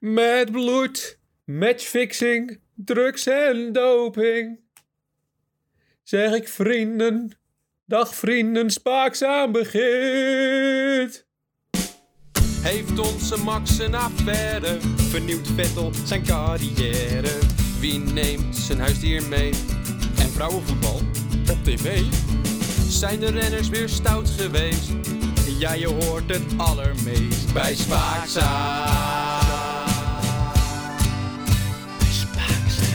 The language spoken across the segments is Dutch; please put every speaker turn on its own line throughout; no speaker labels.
Met bloed, matchfixing, drugs en doping. Zeg ik vrienden, dag vrienden, spaakzaam begint.
Heeft onze Max een affaire? Vernieuwt Vettel zijn carrière? Wie neemt zijn huisdier mee? En vrouwenvoetbal op tv? Zijn de renners weer stout geweest? Ja, je hoort het allermeest bij Spaakzaam.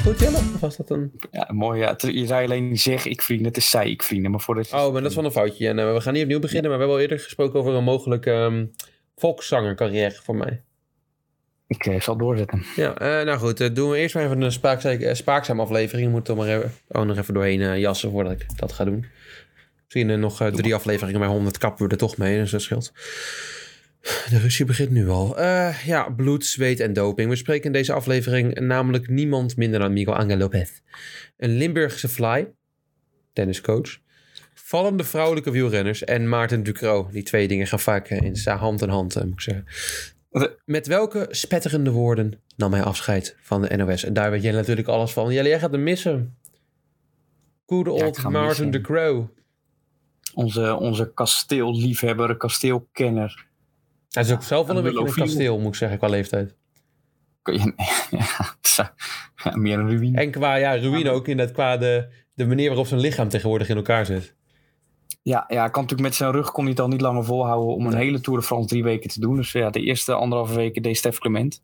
Goed, Jelle? Of was dat een...
Ja, mooi. Ja. Het- Je zei alleen zeg ik vrienden, het is zij ik vrienden. Maar voor de...
Oh, maar dat is wel een foutje. En we gaan niet opnieuw beginnen, maar we hebben al eerder gesproken over een mogelijke ehm, volkszangercarrière voor mij.
Ik eh, zal doorzetten.
Ja, eh, nou goed, eh, doen we eerst maar even een spaakzaam, spaakzaam aflevering. Moet er maar even, oh, nog even doorheen eh, jassen voordat ik dat ga doen. Misschien eh, nog eh, drie afleveringen, maar 100 kappen we er toch mee, dus dat scheelt. De ruzie begint nu al. Eh, ja, bloed, zweet en doping. We spreken in deze aflevering namelijk niemand minder dan Miguel Angel Lopez. Een Limburgse fly, tenniscoach. Vallende vrouwelijke wielrenners en Maarten Ducro. Die twee dingen gaan vaak eh, in sa- hand in hand, eh, moet ik zeggen. Met welke spetterende woorden nam hij afscheid van de NOS? En daar weet jij natuurlijk alles van. Jelle, jij gaat hem missen. Good
ik
old
ga hem
Maarten
missen.
de Crow.
Onze, onze kasteelliefhebber, kasteelkenner.
Hij is ook zelf wel een
Een
beetje een
willofiel.
kasteel, moet ik zeggen, qua leeftijd.
Kun je- Ja, het is, eh, ja, meer een ruïne.
En qua ja, ruïne ook inderdaad, qua de, de manier waarop zijn lichaam tegenwoordig in elkaar zit.
Ja, ja, hij kan natuurlijk met zijn rug kon hij het al niet langer volhouden om een hele Tour de France drie weken te doen. Dus ja, de eerste anderhalve weken deed Stef Clement.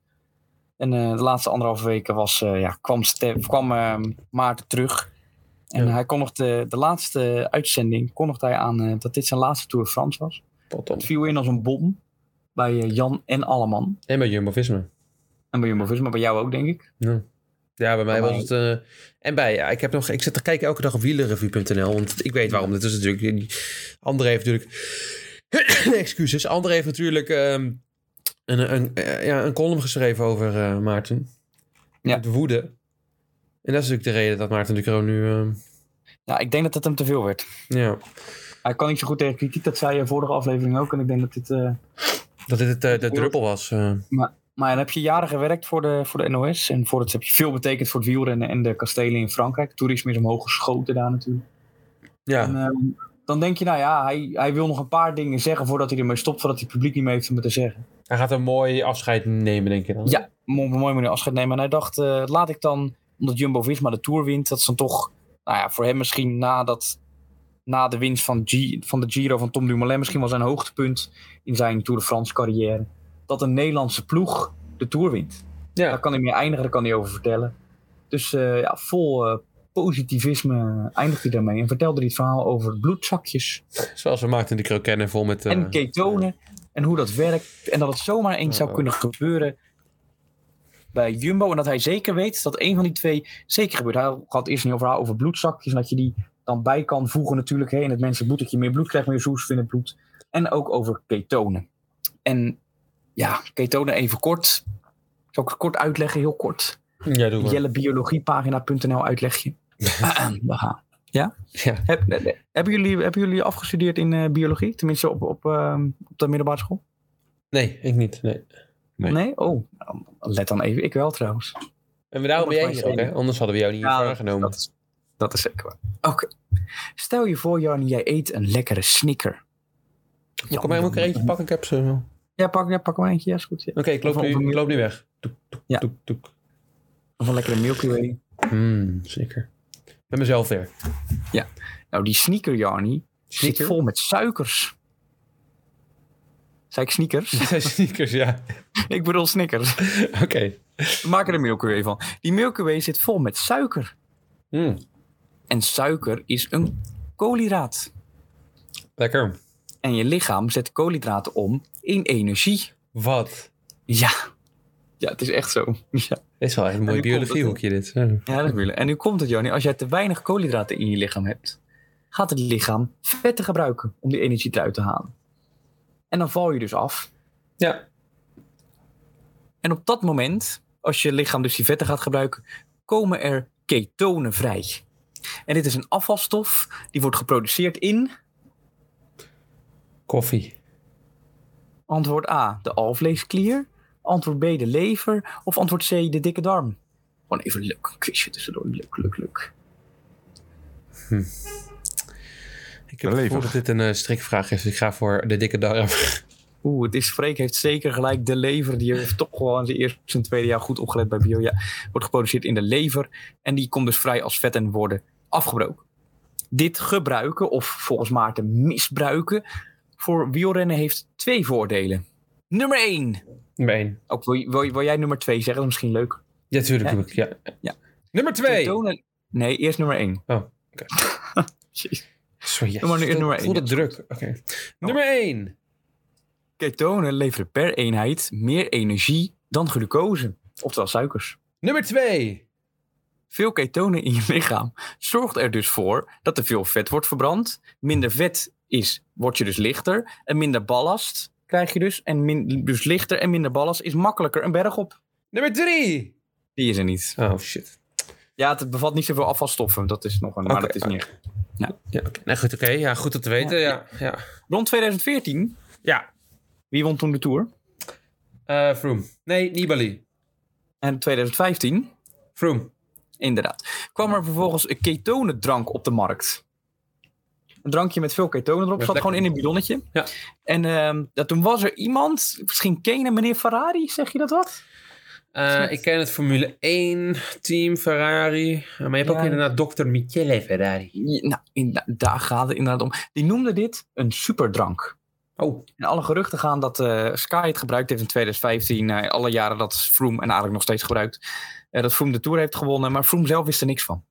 En eh, de laatste anderhalve weken was, eh, ja, kwam, Stef, kwam eh, Maarten terug. En
Ja.
hij kon nog de, de laatste uitzending kondigde hij aan eh, dat dit zijn laatste Tour de France was.
Potom.
Het viel in als een bom bij eh, Jan en Alleman.
En bij Jumbo-Visma.
En bij Jumbo-Visma, maar bij jou ook denk ik.
Ja, bij mij
Bij
was het... eh, en bij, ja, ik, heb nog, ik zit te kijken elke dag op wielerreview.nl, want ik weet waarom. Dat is natuurlijk... eh, André heeft natuurlijk... excuses. André heeft natuurlijk ehm, een, een, eh, ja, een column geschreven over eh, Maarten.
Ja.
Het woede. En dat is natuurlijk de reden dat Maarten de Kroon nu... ehm,
Ja, ik denk dat het hem te veel werd.
ja,
Hij kan niet zo goed tegen kritiek, dat zei je vorige aflevering ook. En ik denk dat dit... eh,
dat dit het, eh, de druppel was. eh.
Maar dan heb je jaren gewerkt voor de, voor de NOS. En voor het heb je veel betekend voor het wielrennen en de kastelen in Frankrijk. Toerisme is omhoog geschoten daar natuurlijk.
ja.
En, ehm, dan denk je, nou ja, hij, hij wil nog een paar dingen zeggen voordat hij ermee stopt. Voordat hij het publiek niet meer heeft om het te zeggen.
Hij gaat een mooi afscheid nemen, denk je dan?
Ja, mo- op een mooie manier afscheid nemen. En hij dacht, eh, laat ik dan, omdat Jumbo-Visma de Tour wint, dat is dan toch, nou ja, voor hem misschien na, dat, na de winst van, G, van de Giro van Tom Dumoulin, misschien wel zijn hoogtepunt in zijn Tour de France carrière, dat een Nederlandse ploeg de Tour wint.
Ja.
Daar kan hij mee eindigen, daar kan hij over vertellen. Dus eh, ja, vol eh, positivisme eindigt hij daarmee en vertelde hij het verhaal over bloedzakjes
Zoals we Maarten de Kroon kennen, vol met... eh,
en ketonen en hoe dat werkt. En dat het zomaar eens zou
Ja.
kunnen gebeuren bij Jumbo. En dat hij zeker weet dat een van die twee zeker gebeurt. Hij had eerst een heel verhaal over bloedzakjes. En dat je die dan bij kan voegen natuurlijk. Hè, in het mensenbloed, dat je meer bloed krijgt, meer zoes in het bloed. En ook over ketonen. En ja, ketonen even kort. Zal ik het kort uitleggen, heel kort.
Ja, doe maar.
Jellebiologiepagina.nl uitlegje. Ahem, We gaan. Ja?
Ja.
Heb- eh, hebben, jullie, hebben jullie afgestudeerd in eh, biologie? Tenminste op, op, ehm, op de middelbare school?
Nee, ik niet, nee.
Nee. Oh, nou, let dan even. Ik wel trouwens.
En daarom ben
Anders
jij hier
was
ook,
je-
hè? Anders hadden we jou niet
Ja,
hiervoor aangenomen.
Dat is, dat is zeker waar. Oké. Stel je voor, Jan, jij eet een lekkere snicker.
Kom maar, moet ik er eentje pakken? Ik heb ze wel. Oké,
Ja, pak, ja, pak maar eentje. Ja, is goed. Ja.
ik, loop
Of- of-
nu- ik loop nu weg. Toek, toek,
Ja.
toek, toek.
Of een lekkere Milky Way.
Mm, zeker. Met mezelf weer.
Nou, die sneaker, Jarnie,
Sneaker?
zit vol met suikers. Zei ik sneakers?
Dit zijn sneakers, ja.
ik bedoel snickers.
Oké.
We maken er Milky Way van. Die Milky Way zit vol met suiker.
Mm,
En suiker is een koolhydraat.
lekker.
En je lichaam zet koolhydraten om in energie.
Wat?
Ja. Ja, het is echt zo. Ja,
Dit is wel echt een mooi
nu komt het,
biologiehoekje, dit. Ja.
ja dat is moeilijk. En nu komt het, Joni. Als jij te weinig koolhydraten in je lichaam hebt, gaat het lichaam vetten gebruiken om die energie eruit te halen. En dan val je dus af.
Ja.
En op dat moment, als je lichaam dus die vetten gaat gebruiken, komen er ketonen vrij. En dit is een afvalstof die wordt geproduceerd in
Koffie.
Antwoord A, de alvleesklier. Antwoord B, de lever. Of antwoord C, de dikke darm. Gewoon even leuk. Quizje tussendoor. Leuk, leuk, leuk.
Ik heb het gevoel
lever.
dat dit een eh, strikvraag is. Ik ga voor de dikke darm.
Oeh, het is Freek heeft zeker gelijk. De lever, die heeft toch gewoon zijn eerste en tweede jaar goed opgelet bij bio. Ja, wordt geproduceerd in de lever. En die komt dus vrij als vet en worden afgebroken. Dit gebruiken, of volgens Maarten misbruiken, voor wielrennen heeft twee voordelen. Nummer 1.
Nummer één.
Ook wil, je- wil, je- wil jij nummer 2 zeggen? Dat is misschien leuk.
Ja, tuurlijk.
Ja.
doe ik, Ja.
Ja.
Nummer twee.
Tentonen- Nee, eerst nummer 1.
Oh, oké. Sorry, ja.
Nummer- nummer
Ik voel
één,
het druk. Oké. Nummer één.
Ketonen leveren per eenheid meer energie dan glucose, oftewel suikers.
Nummer twee.
Veel ketonen in je lichaam zorgt er dus voor dat er veel vet wordt verbrand. Minder vet is, word je dus lichter. En minder ballast krijg je dus. En min- dus lichter en minder ballast is makkelijker een berg op.
Nummer drie.
Die is er niet.
Oh, shit.
Ja, het bevat niet zoveel afvalstoffen. Dat is nog een. Maar
Oké.
dat is niet.
Ja, oké. Nee, Nou, goed, oké. Ja, goed om te weten. Ja, ja. ja.
Rond 2014, wie won toen de Tour?
Eh, Froome. Nee, Nibali.
En 2015,
Froome.
inderdaad, kwam er vervolgens een ketonendrank op de markt. Een drankje met veel ketonen erop,
Ja,
zat
lekker.
gewoon in een bidonnetje.
Ja.
En ehm, dat, toen was er iemand, misschien ken je hem, meneer Ferrari, zeg je dat wat?
Eh, ik ken het Formule 1 team, Ferrari. Eh, Maar je hebt ook
Ja.
inderdaad Dr. Michele Ferrari.
Ja, Nou, in- daar gaat het inderdaad om. Die noemde dit een superdrank.
Oh,
En alle geruchten gaan dat eh, Sky het gebruikt heeft in 2015. eh, alle jaren dat Froome, en eigenlijk nog steeds gebruikt, eh, dat Froome de Tour heeft gewonnen. Maar Froome zelf wist er niks van.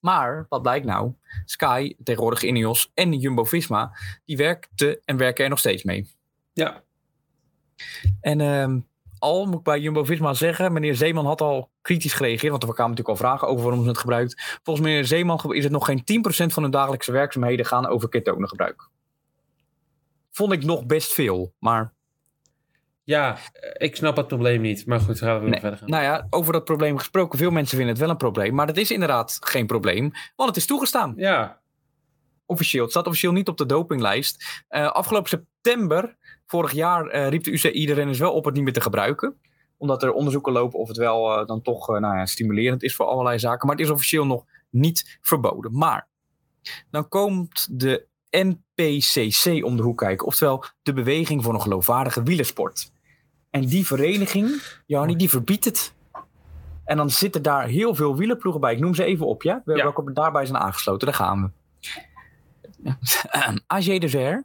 Maar, wat blijkt nou? Sky, tegenwoordig Ineos en Jumbo-Visma, die werkten en werken er nog steeds mee.
ja.
En ehm, al moet ik bij Jumbo-Visma zeggen, meneer Zeeman had al kritisch gereageerd, want er kwamen natuurlijk al vragen over waarom ze het gebruikt. Volgens meneer Zeeman is het nog geen 10% van hun dagelijkse werkzaamheden gaan over ketonengebruik. Vond ik nog best veel, maar
Ja, eh, ik snap het probleem niet. Maar goed, gaan we
Nee.
weer verder gaan.
nou ja, over dat probleem gesproken. Veel mensen vinden het wel een probleem, maar dat is inderdaad geen probleem, want het is toegestaan.
Ja,
officieel. Het staat officieel niet op de dopinglijst. Eh, afgelopen september, vorig jaar, eh, riep de UCI de renners wel op het niet meer te gebruiken. Omdat er onderzoeken lopen of het wel eh, dan toch eh, nou ja, stimulerend is voor allerlei zaken. Maar het is officieel nog niet verboden. Maar dan komt de NPCC om de hoek kijken. Oftewel de Beweging voor een Geloofwaardige Wielersport. En die vereniging, Jani, die verbiedt het. En dan zitten daar heel veel wielerploegen bij. Ik noem ze even op, ja? We
Ja.
welke daarbij zijn aangesloten. Daar gaan we. AG de Ver,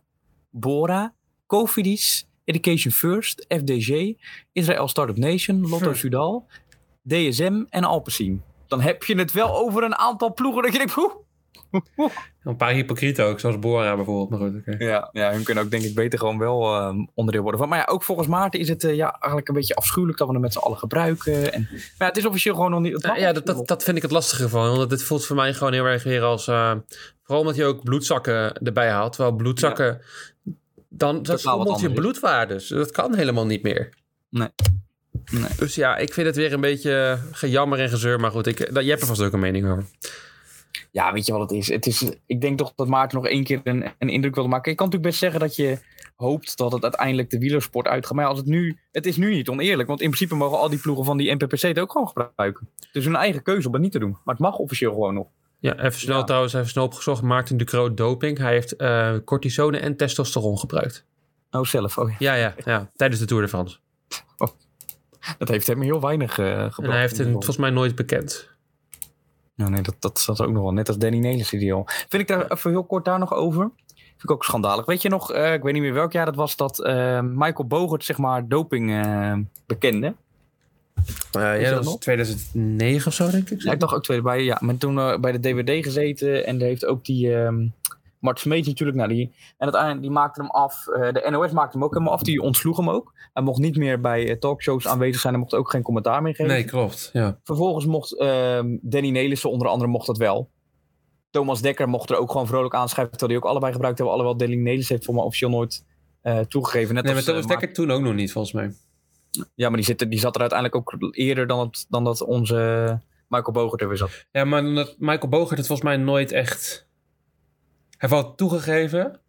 Bora, Cofidis, Education First, FDG, Israël Startup Nation, Lotto
Hm.
Sudal, DSM en Alpecin. Dan heb je het wel over een aantal ploegen dat je denkt, "Oeh."
een paar hypocrieten ook. Zoals Bora bijvoorbeeld. Maar goed, oké.
Ja, ja, hun kunnen ook denk ik beter gewoon wel ehm, onderdeel worden van. Maar ja, ook volgens Maarten is het eh, ja, eigenlijk een beetje afschuwelijk dat we het met z'n allen gebruiken. En, maar ja, het is officieel gewoon nog niet. het
Nou
mag
ja, dat, dat,
officieel
dat vind ik het lastige van. Want dit voelt voor mij gewoon heel erg weer als... eh, vooral omdat je ook bloedzakken erbij haalt. Terwijl bloedzakken... Dan dat
Totaal wat
schommelt je
anders is.
bloedwaardes. Dat kan helemaal niet meer.
Nee. Nee.
Dus ja, ik vind het weer een beetje gejammer en gezeur. Maar goed, ik, eh, dat, jij hebt er vast ook een mening over.
nog. Ja, weet je wat het is? het is? Ik denk toch dat Maarten nog één keer een, een indruk wilde maken. Ik kan natuurlijk best zeggen dat je hoopt dat het uiteindelijk de wielersport uitgaat. Maar ja, als het nu. Het is nu niet oneerlijk, want in principe mogen al die ploegen van die NPPC het ook gewoon gebruiken. Dus hun eigen keuze om het niet te doen. Maar het mag officieel gewoon nog.
Ja, even snel
Ja.
trouwens, even snel opgezocht. Maarten de Croo doping. Hij heeft eh, cortisone en testosteron gebruikt.
Nou, zelf. Oh, ja.
Ja, ja, ja. Tijdens de Tour de France.
dat heeft hem heel weinig eh gebracht.
En hij heeft het
in ieder geval.
volgens mij nooit bekend.
Nou, nee, dat, dat zat ook nog wel. Net als Danny Nelissen die al. Vind ik daar even heel kort daar nog over. Vind ik ook schandalig. Weet je nog, eh, ik weet niet meer welk jaar dat was, dat eh, Michael Bogert, zeg maar, doping eh, bekende.
Eh, ja,
dat
dat was
nog?
2009 of zo, denk ik.
Ja, ik dacht ook tweede bij, ja. Maar toen eh, bij de DWD gezeten en daar heeft ook die ehm Mart Smeets natuurlijk, nou die, en uiteindelijk die maakte hem af. eh, de NOS maakte hem ook helemaal af, die ontsloeg hem ook. Hij mocht niet meer bij eh, talkshows aanwezig zijn, hij mocht ook geen commentaar meer geven.
Nee, klopt. Ja.
Vervolgens mocht ehm, Danny Nelissen onder andere mocht dat wel. Thomas Dekker mocht er ook gewoon vrolijk aanschrijven. Terwijl die ook allebei gebruikt hebben. Alhoewel Danny Nelissen heeft voor mij officieel nooit eh, toegegeven. Net
Nee, maar
als,
Thomas
eh,
Dekker toen ook nog niet, volgens mij.
Maarten- Ja, maar die, zit, er- die zat er uiteindelijk ook eerder dan, het, dan dat onze Michael Bogert er weer zat.
Ja, maar omdat Michael Bogert het volgens mij nooit echt... Hij heeft wel toegegeven,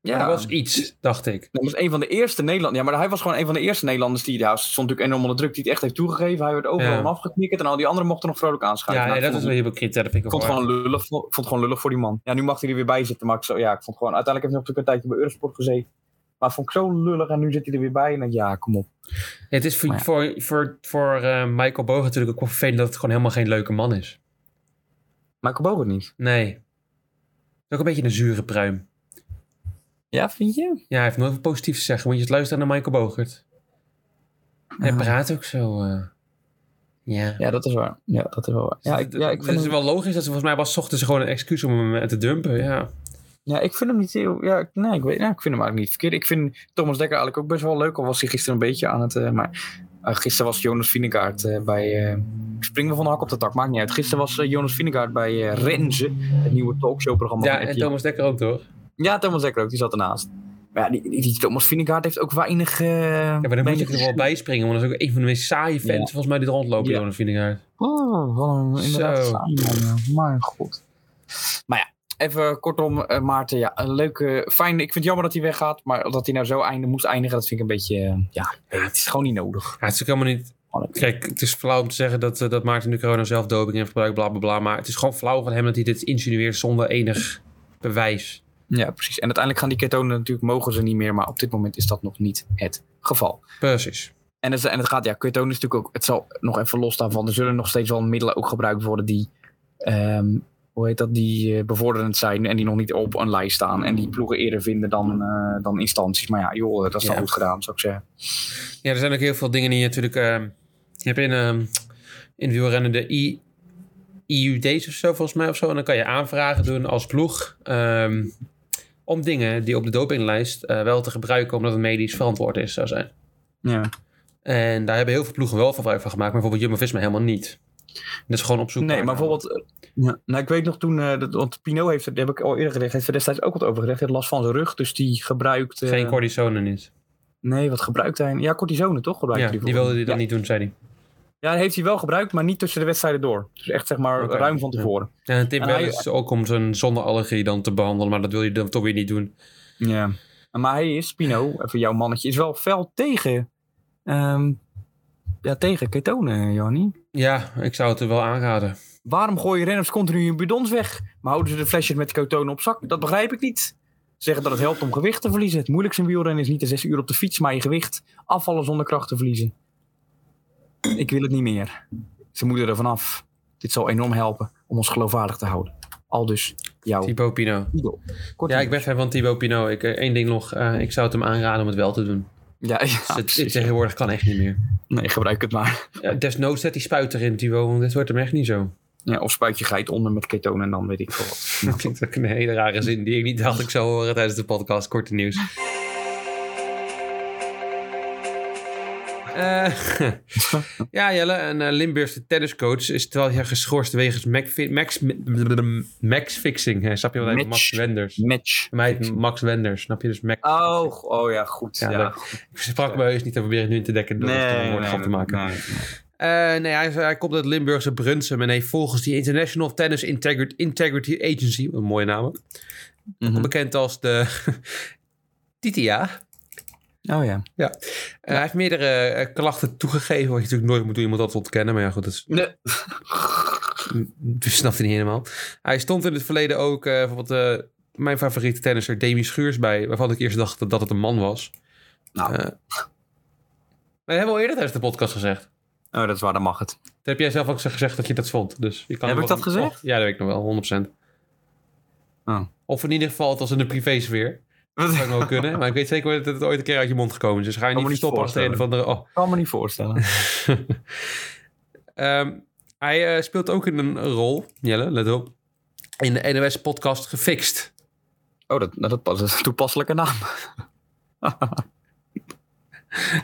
Ja. Dat was iets, dacht ik.
Dat was een van de eerste Nederlanders. Ja, maar hij was gewoon een van de eerste Nederlanders die daar stond natuurlijk enorm onder druk, die het echt heeft toegegeven. Hij werd overal
Ja.
ja. afgeknikkerd en al die anderen mochten nog vrolijk aanschuiven.
Ja, nee,
Nou,
dat
ik
is
vond
wel hypocriet. hè, Dat vind ik
ik
ook
vond het
wel
gewoon lullig, vond vond het gewoon lullig voor die man. Ja, nu mag hij er weer bij zitten, maar ik zo, ja, ik vond gewoon... Uiteindelijk heeft hij natuurlijk een tijdje bij Eurosport gezeten. Maar vond ik zo lullig en nu zit hij er weer bij. En dan, ja, kom op.
Oh Ja, het is voor,
Maar ja.
voor, voor, voor eh, Michael Bogen natuurlijk ook wel vervelend dat het gewoon helemaal geen leuke man is.
Michael Bogert niet.
Nee. Het is Ook een beetje een zure pruim.
Ja, vind je?
Ja, hij heeft nooit wat positiefs te zeggen. Moet je eens luisteren naar Michael Bogert. Hij
Ja.
praat ook zo. eh, ja.
Ja, dat is waar. Ja, dat is wel waar. Ja, ik, ja,
Dus
ik
het
vind
is
hem,
wel logisch dat ze volgens mij was ochtends gewoon een excuus om hem eh, te dumpen. Ja.
ja, ik vind hem niet heel... Ja, ik- nee, ik, weet, ja, ik vind hem eigenlijk niet verkeerd. Ik vind Thomas Dekker eigenlijk ook best wel leuk. Al was hij gisteren een beetje aan het... eh, maar eh, gisteren was Jonas Vinegaard eh, bij... eh ik spring wel van de hak op de tak, maakt niet uit. Gisteren was eh, Jonas Vinegaard bij eh, Renze, het nieuwe talkshowprogramma
ja,
van
en
RTL.
Thomas Dekker ook toch?
Ja, Thomas Dekker ook, die zat ernaast. Maar ja, die, die, die Thomas Vinegaard heeft ook weinig... eh
Ja, maar dan moet je er wel bij springen, want dat is ook een van de meest saaie fans
Ja.
volgens mij die er rondlopen,
Ja.
Jonas Vingegaard.
Oh, wat een inderdaad
Zo.
saai man, ja. Mijn god. Maar ja, even kortom, eh, Maarten. Ja, een leuke, fijn. Ik vind het jammer dat hij weggaat. Maar dat hij nou zo einde, moest eindigen, dat vind ik een beetje... eh, ja, nee, het is gewoon niet nodig.
Ja, het is ook helemaal niet
Oh,
Kijk, het is flauw om te zeggen dat, eh, dat Maarten de Corona zelf doping heeft gebruikt, bla bla bla. Maar het is gewoon flauw van hem dat hij dit insinueert zonder enig bewijs.
Ja, precies. En uiteindelijk gaan die ketonen natuurlijk, mogen ze niet meer. Maar op dit moment is dat nog niet het geval.
Precies.
En het, en het gaat, ja, ketonen is natuurlijk ook... Het zal nog even losstaan van... Er zullen nog steeds wel middelen ook gebruikt worden die... ehm, hoe heet dat, die eh, bevorderend zijn en die nog niet op een lijst staan. En die ploegen eerder vinden dan, eh, dan instanties. Maar ja, joh, dat is dan
Ja.
goed gedaan, zou ik zeggen.
Ja, er zijn ook heel veel dingen die je natuurlijk... ehm, je hebt in, ehm in wielrennen de I, IUD's of zo, volgens mij, of zo. En dan kan je aanvragen doen als ploeg ehm, om dingen die op de dopinglijst eh, wel te gebruiken... omdat het medisch verantwoord is, zou zijn.
Ja.
En daar hebben heel veel ploegen wel gebruik van gemaakt. Maar bijvoorbeeld Jumbo-Visma helemaal niet. Dat is gewoon op zoek
Nee,
naar-
maar bijvoorbeeld. eh, ja, nou, ik weet nog toen. eh, dat, want Pino heeft, er- daar heb ik al eerder gezegd, heeft er destijds ook wat over gezegd. Hij had last van zijn rug, dus die gebruikt. eh,
Geen cortisone niet.
Nee, wat gebruikt hij? Ja, cortisone toch? Gebruikt
Ja,
hij
die wilde hij dan
ja.
niet doen, zei hij.
Ja, heeft hij wel gebruikt, maar niet tussen de wedstrijden door. Dus echt zeg maar
Oké,
ruim van
ja.
tevoren.
Ja, Tim
En
wel
hij-
is ook om zijn zonneallergie dan te behandelen, maar dat wil je dan toch weer niet doen.
Ja. Maar hij is, Pino, even jouw mannetje, is wel fel tegen. ehm, ja, tegen ketonen, Johnny.
Ja, ik zou het er wel aanraden.
Waarom gooien renners continu hun bidons weg? Maar houden ze de flesjes met ketonen op zak? Dat begrijp ik niet. Zeggen dat het helpt om gewicht te verliezen. Het moeilijkste in wielrennen is niet de zes uur op de fiets, maar je gewicht afvallen zonder kracht te verliezen. Ik wil het niet meer. Ze moeten er vanaf. Dit zal enorm helpen om ons geloofwaardig te houden. Al dus jouw
Thibaut Pinot.
idool. Kort
Ja, ik ben fan van Thibaut Pinot. Ik, eh, één ding nog, eh, ik zou het hem aanraden om het wel te doen.
Ja, ja,
Dus het,
Ah, precies.
tegenwoordig kan echt niet meer.
Nee, gebruik het maar.
Ja, desnoods zet die spuit erin, Thibaut, want dit wordt hem echt niet zo.
Ja, of spuit je geit onder met ketonen en dan weet ik veel wat.
Dat klinkt ook een hele rare zin die ik niet dacht ik zou horen tijdens de podcast. Korte nieuws. Eh, ja, Jelle, een eh, Limburgse tenniscoach is 12 jaar geschorst wegens max-fixing. Max, max fixing, hè. snap je wat hij
Match.
Max Wenders.
Match.
Mij heet Max Wenders, snap je? Dus Max.
Oh, go- oh ja, goed.
Ja,
Ja,
leuk. Ik sprak me heus niet te proberen nu in te dekken door er een woordgrap te maken.
nee.
Eh, nee, hij, hij komt uit Limburgse Brunsum en heeft volgens die International Tennis Integri- Integrity Agency, een mooie naam,
Mhm.
bekend als de TITIA.
Oh ja.
Eh, hij heeft meerdere eh, klachten toegegeven, wat je natuurlijk nooit moet doen, iemand dat ontkennen. Maar ja, goed, dat is,
Nee.
dat snapt hij niet helemaal. Hij stond in het verleden ook eh, bijvoorbeeld eh, mijn favoriete tennisser Demi Schuurs bij, waarvan ik eerst dacht dat, dat het een man was.
Nou.
Eh, maar dat hebben we al eerder tijdens de podcast gezegd.
Oh, dat is waar, dan mag het.
Dat heb jij zelf ook zo gezegd dat je dat vond. Dus je kan
Heb
nog
ik dat
een-
gezegd?
Ja, dat weet ik nog wel, 100%.
Oh.
Of in ieder geval, het was in de privésfeer.
Wat?
Dat zou ook kunnen. Maar ik weet zeker dat het ooit een keer uit je mond gekomen is. Dus ga je
Kan
niet
me niet
verstoppen als de een of andere... Oh.
kan me niet voorstellen.
Ehm, hij eh, speelt ook in een rol, Jelle, let op, in de NOS-podcast Gefixt.
Oh, dat, nou, dat, pas, dat is een toepasselijke naam.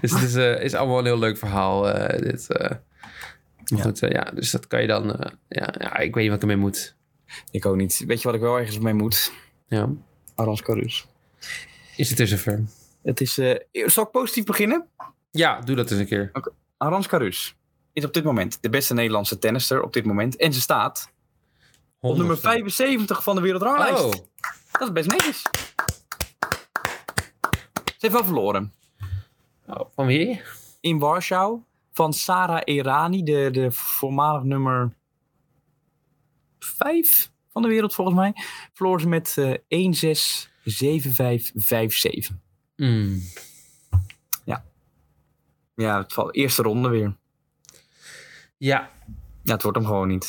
Dus het is, eh, is allemaal een heel leuk verhaal, eh, dit... eh. Maar
Ja.
Goed, eh, ja, dus dat kan je dan... eh, ja, ja, ik weet niet wat ik ermee moet.
Ik ook niet. Weet je wat ik wel ergens mee moet?
Ja.
Arans Carus.
Is het dus zover?
Het is, eh, zal ik positief beginnen?
Ja, doe dat eens een keer.
Arans Carus is op dit moment de beste Nederlandse tennister op dit moment. En ze staat op nummer 75 van de wereldranglijst.
Oh,
Dat is best netjes. heeft wel verloren.
Oh. Van wie?
In Warschau van Sarah Errani, de, de voormalig nummer 5 van de wereld volgens mij. Verloor ze met eh 1-6, 7-5, 5-7.
Mm.
Ja, het valt eerste ronde weer.
Ja,
Ja, het wordt hem gewoon niet.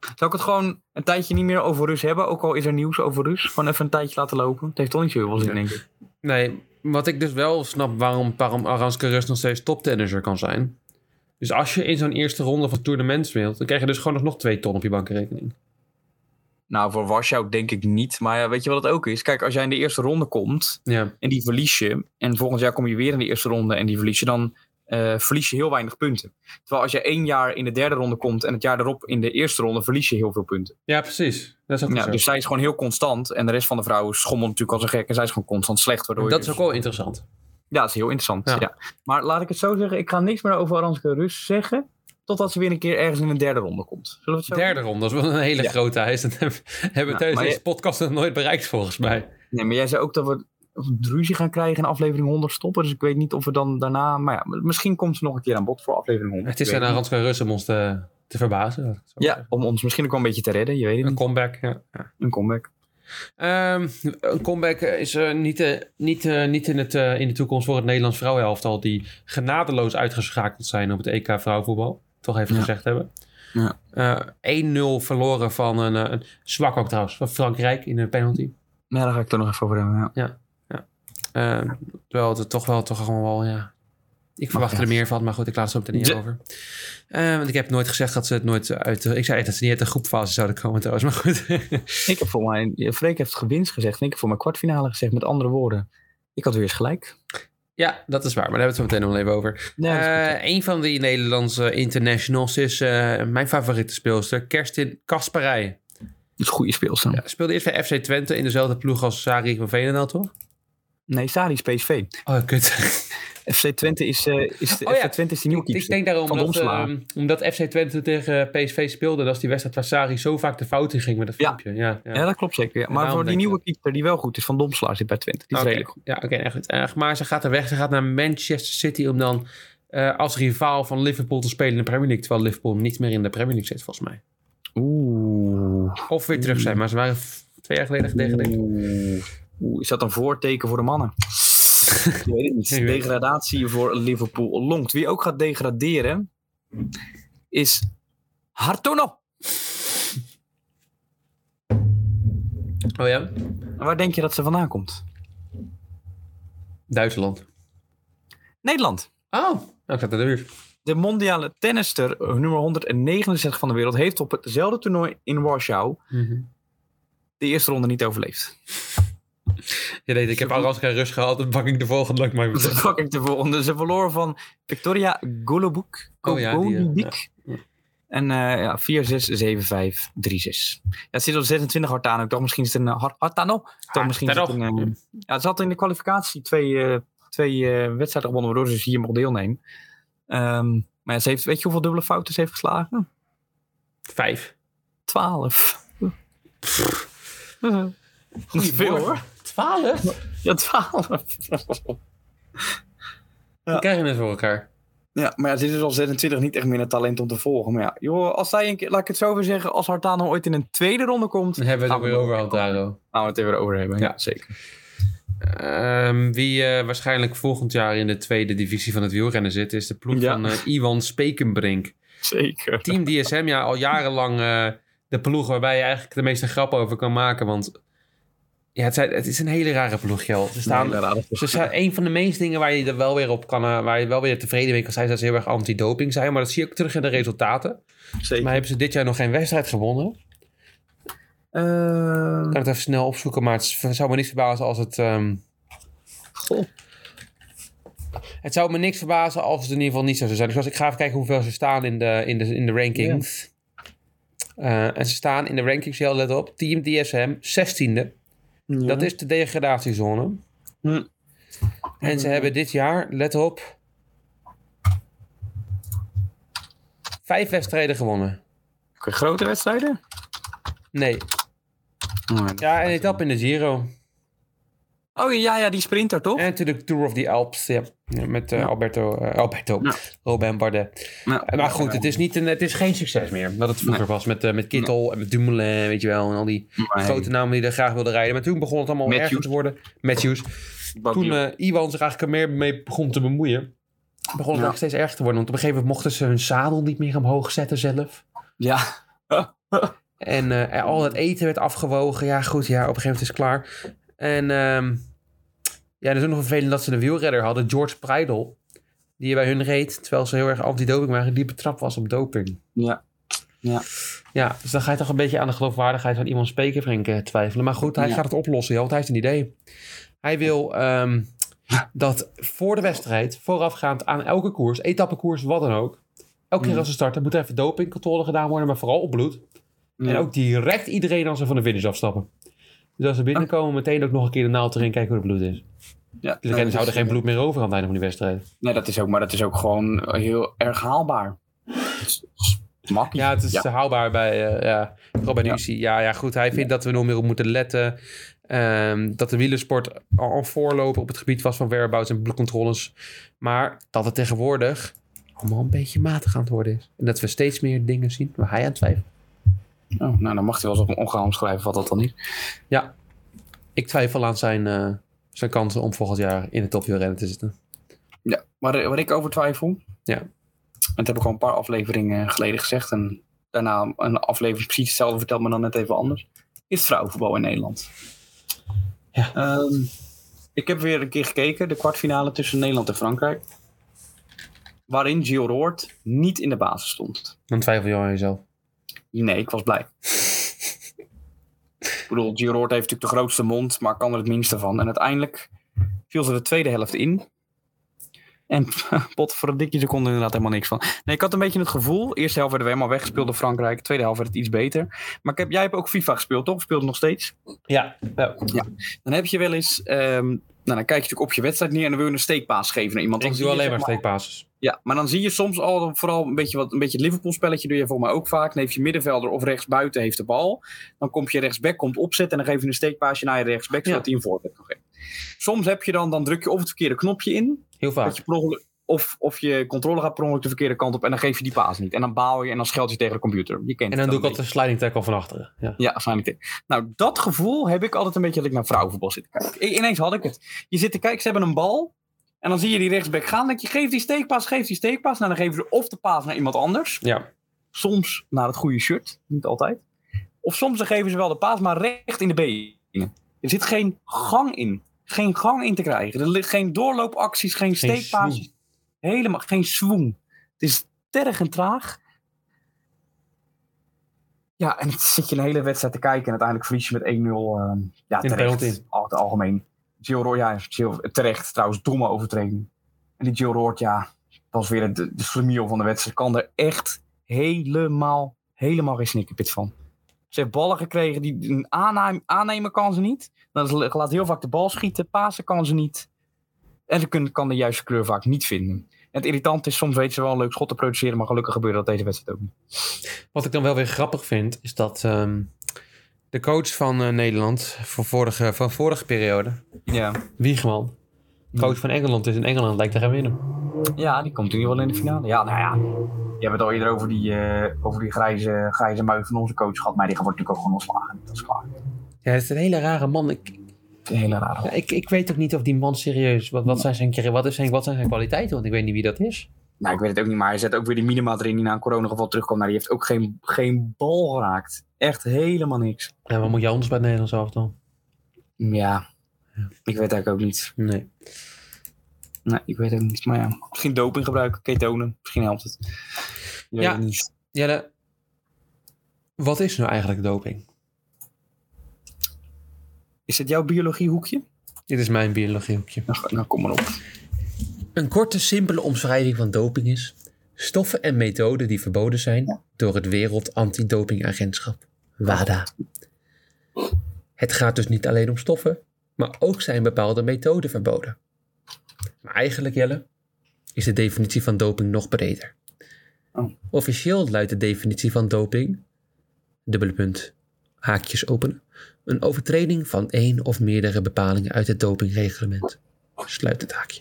Zou ik het gewoon een tijdje niet meer over Rus hebben? Ook al is er nieuws over Rus. Gewoon even een tijdje laten lopen. Het heeft toch niet zo heel veel zin, denk ik.
nee. Wat ik dus wel snap waarom, waarom Aranska Rus nog steeds toptenniser kan zijn. Dus als je in zo'n eerste ronde van het Tour de Mens speelt, dan krijg je dus gewoon nog- nog twee ton op je bankrekening.
Nou, voor Warschau denk ik niet. Maar ja, weet je wat het ook is? Kijk, als jij in de eerste ronde komt
Ja,
en die verlies je. En volgend jaar kom je weer in de eerste ronde en die verlies je. Dan eh, verlies je heel weinig punten. Terwijl als je één jaar in de derde ronde komt en het jaar daarop in de eerste ronde verlies je heel veel punten.
ja precies. Dat is ook
Ja,
zo.
dus zij is gewoon heel constant. En de rest van de vrouwen schommelt natuurlijk als een gek. En zij is gewoon constant slecht. Waardoor je
dat
dus-
is ook wel interessant.
Ja, dat is heel interessant.
Ja.
Ja. Maar laat ik het zo zeggen, ik ga niks meer over Aranske Rus zeggen. Totdat ze weer een keer ergens in een derde ronde komt. Zullen we het zo
Derde ronde, dat is wel een hele
Ja.
grote huis. Dat hebben hebben we
Ja,
tijdens
maar je-
deze podcast nog nooit bereikt, volgens mij.
Nee, maar jij zei ook dat we ruzie gaan krijgen in aflevering 100 stoppen. Dus ik weet niet of we dan daarna... Maar ja, misschien komt ze nog een keer aan bod voor aflevering 100.
Het is
Ik
aan
weet
Aranska Rus om ons te, te verbazen. laat ik het zo
niet. Ja,
zeggen.
om ons misschien ook wel een beetje te redden. Je weet het
Een
niet.
comeback, ja.
Een comeback.
Ehm, een comeback is eh, niet, eh, niet, eh, niet in, het, eh, in de toekomst voor het Nederlands vrouwenelftal. Die genadeloos uitgeschakeld zijn op het EK vrouwenvoetbal. Toch even
Ja.
gezegd hebben.
Ja.
Eh, 1-0 verloren van een, eh, een zwak ook trouwens. Van Frankrijk in een penalty.
Ja, Nou, daar ga ik het nog even over hebben. Ja.
Ehm, terwijl het toch wel, toch gewoon wel, ja. Ik verwacht
ja.
er meer van, maar goed, ik laat het zo meteen niet
De-
over. Ehm, want ik heb nooit gezegd dat ze het nooit uit... eh, Ik zei dat ze niet uit de groepfase zouden komen trouwens, maar goed.
Ik heb voor mij... Freek heeft gewinst gezegd. En ik heb voor mijn kwartfinale gezegd. Met andere woorden, ik had weer eens gelijk.
ja, dat is waar, maar daar hebben we het zo meteen nog wel even over.
Ja, dat is goed.
Eh, een van die Nederlandse internationals is eh, mijn favoriete speelster, Kerstin Kasparij.
Dat is een goede speelster.
Ja, speelde eerst bij FC Twente in dezelfde ploeg als Sari van Veenendaal, toch?
Nee, Sari is PSV.
Oh, kut.
FC Twente is, eh, is, de,
Oh ja,
FC Twente is die nieuwe
Ik, ik
keeper.
denk daarom
Van
dat,
Domslaan.
ehm, omdat FC Twente tegen eh, PSV speelde, dat is die wedstrijd waar Sari zo vaak de fout in ging met dat
Ja.
filmpje. Ja, ja.
Ja, dat klopt zeker. ja. Maar
daarom
voor die
denk ik
nieuwe keeper die wel goed is, Van Domslaar zit bij Twente. Die is
Oké.
redelijk goed.
Ja, oké, nou goed. Eh, maar ze gaat er weg. Ze gaat naar Manchester City om dan eh, als rivaal van Liverpool te spelen in de Premier League. Terwijl Liverpool niet meer in de Premier League zit, volgens mij.
Oeh.
Of weer
Hmm.
terug zijn, maar ze waren f- twee jaar geleden gedegradeerd.
Oeh. Oeh, Is dat een voorteken voor de mannen? Ik weet het niet.
Ik weet het.
Degradatie voor Liverpool longt. Wie ook gaat degraderen is Hartono.
Oh ja?
En Waar denk je dat ze vandaan komt?
Duitsland.
Nederland.
Oh, ik zat in de buurt.
De mondiale tennister, eh, nummer 169 van de wereld, heeft op hetzelfde toernooi in Warschau de eerste ronde niet overleefd.
Je weet, ik heb al geen rust gehad, dan pak ik de volgende lang maar
Wat
weer.
de fuck ik de volgende? Ze verloren van Victoria Golubuk.
Oh ja, die, eh,
Golubik.
ja.
En eh ja, 4, 6, 7, 5, 3, 6. Ja, het zit op 26 Hartano. Ik dacht misschien is het een eh, Hart- Hartano. Ik dacht
Ah,
misschien is het
Hartano.
een, eh, ja, ze had in de kwalificatie twee, eh, twee eh, wedstrijden gewonnen waardoor ze dus hier mocht deelnemen. Ehm, maar ja, ze heeft, weet je hoeveel dubbele fouten ze heeft geslagen? Hm,
Vijf.
12. Dat is veel hoor.
Twaalf?
Hm. Ja, 12.
Die krijgen het voor elkaar.
Ja, maar ja, dit is al 26 niet echt meer een talent om te volgen. Maar ja, joh, als zij een keer, laat ik het zo weer zeggen, als Hartano ooit in een tweede ronde komt,
Dan hebben we het
Gaan
ook
we
weer over, Altaro.
gaan we het er weer over hebben. Ja, zeker.
Ehm, wie eh, waarschijnlijk volgend jaar in de tweede divisie van het wielrennen zit, is de ploeg
Ja.
van eh, Iwan Spekenbrink.
Zeker.
Team DSM, ja, al jarenlang eh, de ploeg waarbij je eigenlijk de meeste grappen over kan maken. Want ja, het, zijn, het is een hele rare ploeg, Jel. Ze staan Ze zijn een van de meeste dingen waar je er wel weer op kan, eh, waar je wel weer tevreden mee kan zijn, is dat ze heel erg anti-doping zijn. Maar dat zie je ook terug in de resultaten.
zeker.
Maar hebben ze dit jaar nog geen wedstrijd gewonnen? Ik
Eh,
kan het even snel opzoeken, maar het is- zou me niks verbazen als het. ehm,
goh.
het zou me niks verbazen als het in ieder geval niet zo zou zijn. Dus als ik ga even kijken hoeveel ze staan in de, in de, in de rankings. Eh, en ze staan in de rankings, heel let op. Team DSM, 16e.
Ja.
Dat is de degradatiezone.
Hm.
En ze hebben dit jaar, let op, vijf wedstrijden gewonnen.
Oké, grote wedstrijden?
Nee,
Oh, ja.
ja, een etappe in de Giro.
Oh ja, ja, die sprinter toch?
En natuurlijk Tour of the Alps ja. Ja, met eh,
Ja.
Alberto, eh, Alberto
Ja.
Robin Bardet. Eh, Maar goed, het is, niet een, het is geen succes meer. Dat het vroeger was met, eh, met Kittel en met Dumoulin, weet je wel. En al die grote namen die er graag wilden rijden. Maar toen begon het allemaal
Matthews.
erger te worden. Matthews. Toen eh, Iwan zich eigenlijk er meer mee begon te bemoeien, begon het
Ja.
ook steeds erger te worden. Want op een gegeven moment mochten ze hun zadel niet meer omhoog zetten zelf.
Ja,
En eh, er- al het eten werd afgewogen. Ja, goed, ja, op een gegeven moment is het klaar. En ehm ja, er is ook nog vervelend dat ze een wielredder hadden, George Preidel. Die bij hun reed, terwijl ze heel erg anti-doping waren, die betrapt was op doping.
Ja. Ja.
Ja, dus dan ga je toch een beetje aan de geloofwaardigheid van iemand spreken, Frank, eh, twijfelen. Maar goed, hij
Ja.
gaat het oplossen, ja, want hij heeft een idee. Hij wil ehm, dat voor de wedstrijd, voorafgaand aan elke koers, etappekoers, wat dan ook. Elke keer
Mhm.
als ze starten, moet er even dopingcontrole gedaan worden, maar vooral op bloed. En ook direct iedereen als ze van de finish afstappen. Dus als ze binnenkomen, meteen ook nog een keer de naald erin kijken hoe het bloed is.
ja.
Dus dan
Ah. Oh, dat
zou er
is-
geen bloed meer over aan het einde van die wedstrijd.
Nee, dat is ook, maar dat is ook gewoon heel erg haalbaar. Het is- het is Makkelijk.
Ja, het is
Ja.
haalbaar bij, eh, ja, vooral bij de
Ja.
UCI. Ja, ja, goed. Hij vindt dat we nog meer op moeten letten. Ehm, dat de wielersport al al voorloper op het gebied was van whereabouts en bloedcontroles. Maar dat het tegenwoordig allemaal een beetje matig aan het worden is. En dat we steeds meer dingen zien waar hij aan twijfelt.
Oh, nou, dan mag hij wel eens op een ongehaald schrijven wat dat dan is.
Ik twijfel aan zijn, eh, zijn kansen om volgend jaar in de topwielrennen te zitten.
Ja, waar, waar eh, ik over twijfel.
Ja.
Dat heb ik al een paar afleveringen eh, geleden gezegd. En daarna een aflevering precies hetzelfde verteld, maar dan net even anders. Is het vrouwenvoetbal in Nederland?
Ja.
Ehm, ik heb weer een keer gekeken. De kwartfinale tussen Nederland en Frankrijk. Waarin Gio Roord niet in de basis stond.
Dan twijfel je al aan jezelf.
Nee, ik was blij. ik bedoel, Gio Roord heeft natuurlijk de grootste mond, maar kan er het minste van. En uiteindelijk viel ze de tweede helft in. En pot voor een dikje seconde inderdaad helemaal niks van. Nee, ik had een beetje het gevoel. Eerste helft werden we helemaal weggespeeld door Frankrijk. Tweede helft werd het iets beter. Maar ik heb, jij hebt ook FIFA gespeeld, toch? Of Speelde nog steeds?
Ja, ja.
Dan heb je wel eens... ehm, nou, dan kijk je natuurlijk op je wedstrijd neer en dan wil je een steekpaas geven naar iemand. Dan
ik
zie
doe
je,
alleen
zeg
maar steekpases.
ja, maar dan zie je soms al vooral een beetje, wat, een beetje het Liverpool-spelletje. Doe je volgens mij ook vaak. Dan heeft je middenvelder of rechtsbuiten heeft de bal. Dan komt je rechtsback, komt opzetten. En dan geef je een steekpaasje naar je rechtsback. Zodat
Ja.
hij een voorzet kan geven. Soms heb je dan, dan druk je op het verkeerde knopje in.
Heel
Dat
vaak.
je per ongeluk- of, of je controle gaat per ongeluk de verkeerde kant op. En dan geef je die paas niet. En dan baal je en dan scheld je tegen de computer. Je kent
En
het
dan doe ik
wel een
altijd een sliding tackle van achteren. Ja.
ja, waarschijnlijk. Nou, dat gevoel heb ik altijd een beetje dat ik naar vrouwenvoetbal zit te kijken. I- ineens had ik het. Je zit te kijken, ze hebben een bal. En dan zie je die rechtsback gaan. Dan denk je, geef die steekpaas, geef die steekpaas. Nou, dan geven ze of de paas naar iemand anders.
ja.
Soms naar het goede shirt, niet altijd. Of soms dan geven ze wel de paas, maar recht in de benen. Er zit geen gang in. Geen gang in te krijgen. Er ligt geen doorloopacties, geen,
Geen
steekpaasjes. Helemaal geen swoon. Het is terg en traag. Ja, en dan zit je een hele wedstrijd te kijken en uiteindelijk verlies je met 1-0. ehm, ja,
de
terecht.
penalty.
Al het algemeen. Jill Roy, ja, Gio- terecht. Trouwens, domme overtreding. En die Jill Roord, ja, was weer de, de slemiel van de wedstrijd. Kan er echt helemaal, helemaal geen snikkerpit van. Ze heeft ballen gekregen, die een aannemen, aannemen kan ze niet. Dan is- laat heel vaak de bal schieten, pasen kan ze niet. En ze kunnen, kan de juiste kleur vaak niet vinden. En het irritant is, soms weet ze wel een leuk schot te produceren, maar gelukkig gebeurde dat deze wedstrijd ook niet.
Wat ik dan wel weer grappig vind, is dat ehm, de coach van eh, Nederland van vorige, van vorige periode,
Ja.
Wiegman, coach van Engeland is in Engeland, lijkt te gaan winnen.
ja, die komt in ieder geval in de finale. Ja, nou ja. Je hebt het al eerder over die, eh, over die grijze, grijze mui van onze coach gehad, maar die wordt natuurlijk ook gewoon ontslagen. Dat is klaar.
Ja, het is een hele rare man. Ik,
Het is een hele rare.
ik, ik weet ook niet of die man serieus, wat, wat, zijn zijn, wat, is zijn, wat zijn zijn kwaliteiten, want ik weet niet wie dat is.
Nou, ik weet het ook niet, maar hij zet ook weer die minima erin die na een coronageval terugkwam. Nou, die heeft ook geen, geen bal geraakt. Echt helemaal niks. Mm,
En wat moet je anders bij het Nederlands elftal?
Ja, ik weet eigenlijk ook niet.
Nee.
Nee, ik weet het ook niet. Maar ja, misschien doping gebruiken, ketonen. Misschien helpt het. Je weet
Ja.
het niet.
Jelle, wat is nou eigenlijk doping?
Is dit jouw biologiehoekje?
Dit is mijn biologiehoekje.
Nou, nou, kom maar op.
Een korte, simpele omschrijving van doping is stoffen en methoden die verboden zijn door het Wereld Antidopingagentschap, WADA. Het gaat dus niet alleen om stoffen, maar ook zijn bepaalde methoden verboden. Maar eigenlijk, Jelle, is de definitie van doping nog breder.
Oh.
Officieel luidt de definitie van doping, dubbele punt, haakjes openen, Een overtreding van één of meerdere bepalingen uit het dopingreglement. Sluit het haakje.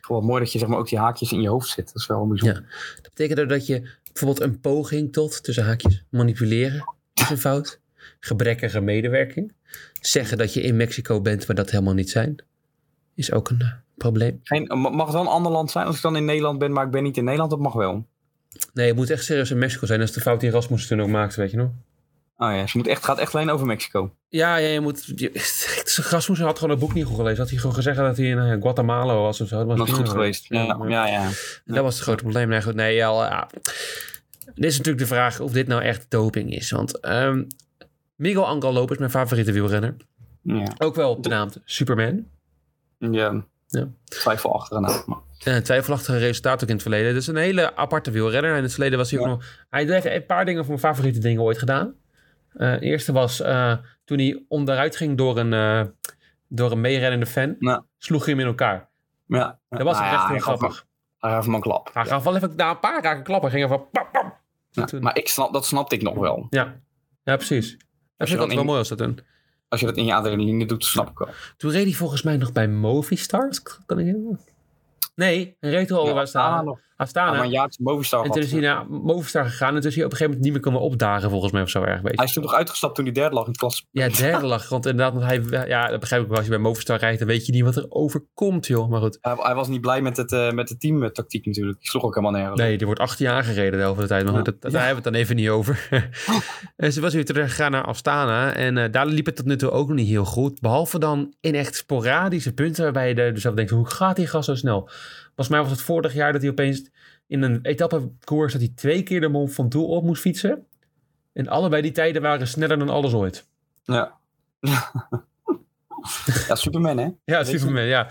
Gewoon mooi dat je zeg maar, ook die haakjes in je hoofd zit. Dat is wel bijzonder.
Dat betekent ook dat je bijvoorbeeld een poging tot, tussen haakjes, manipuleren is een fout. Gebrekkige medewerking. Zeggen dat je in Mexico bent, maar dat helemaal niet zijn, is ook een eh, probleem.
Geen, ma- mag het wel een ander land zijn als ik dan in Nederland ben, maar ik ben niet in Nederland? Dat mag wel.
Nee, het moet echt serieus in Mexico zijn. Dat is de fout die Rasmus toen ook maakte, weet je nog?
Oh ja, ze moet echt, gaat echt alleen over Mexico.
Ja, ja je moet. Je, Rasmussen had gewoon het boek niet goed gelezen. Had hij gewoon gezegd dat hij in eh, Guatemala was of zo. Dat was
Dat is goed
prima.
geweest. Ja, ja, ja.
En Dat was het grote probleem. Nee, goed, nee ja, eh, ja. Dit is natuurlijk de vraag of dit nou echt doping is. Want ehm, Miguel Angel Lopez, mijn favoriete wielrenner.
ja.
Ook wel benaamd Superman.
ja.
Ja.
Twijfel achteraan. Maar.
Eh, twijfelachtige resultaten ook in het verleden. Dus een hele aparte wielrenner. En in het verleden was hij ook nog... Hij heeft een paar dingen van mijn favoriete dingen ooit gedaan. Eh, de eerste was eh, toen hij onderuit ging door een, eh, door een meerennende fan.
Ja.
Sloeg hij hem in elkaar.
Ja.
Dat was
Nou ja,
echt heel
hij gaf
grappig.
hem- Hij gaf hem een klap.
Hij gaf wel even na een paar raken klappen. Ging even pam, pam.
Ja,
Toen-
Maar ik snap, dat snapte ik nog wel.
Ja. ja, precies. Dat
je
vind ik
dan
altijd wel
in-
mooi als dat een...
Als je dat in je adrenaline doet, snap ik wel.
Toen reed hij volgens mij nog bij Movistar. als ik- Kan ik helemaal... Nee, hij reed al
Ja, ah,
bij Astana.
nog.
Astana.
maar een jaartje Movistar
En
had.
toen is hij naar Movistar gegaan. En toen is hij op een gegeven moment niet meer komen opdagen, volgens mij, of zo erg. Weet je.
Hij is toen nog uitgestapt toen hij derde lag in het klas.
Ja, derde lag. Want inderdaad, want hij, ja, dat begrijp ik wel. Als je bij Movistar rijdt, dan weet je niet wat er overkomt, joh. Maar goed.
Hij, hij was niet blij met, het, eh, met de teamtactiek natuurlijk. Die sloeg ook helemaal nergens. op.
Nee, er wordt 18 jaar gereden de helft van de tijd. Maar goed,
Ja.
dat, dat- daar hebben we het dan even niet over. en ze was weer teruggegaan naar Astana. En eh, daar liep het tot nu toe ook nog niet heel goed. Behalve dan in echt sporadische punten waarbij je er dus zelf denkt, hoe gaat die gast zo snel? Volgens mij was het vorig jaar dat hij opeens in een etappekoers dat hij twee keer de Mont Ventoux op moest fietsen. En allebei die tijden waren sneller dan alles ooit.
Ja. ja, Superman hè?
Ja,
Weet je?
Superman, ja.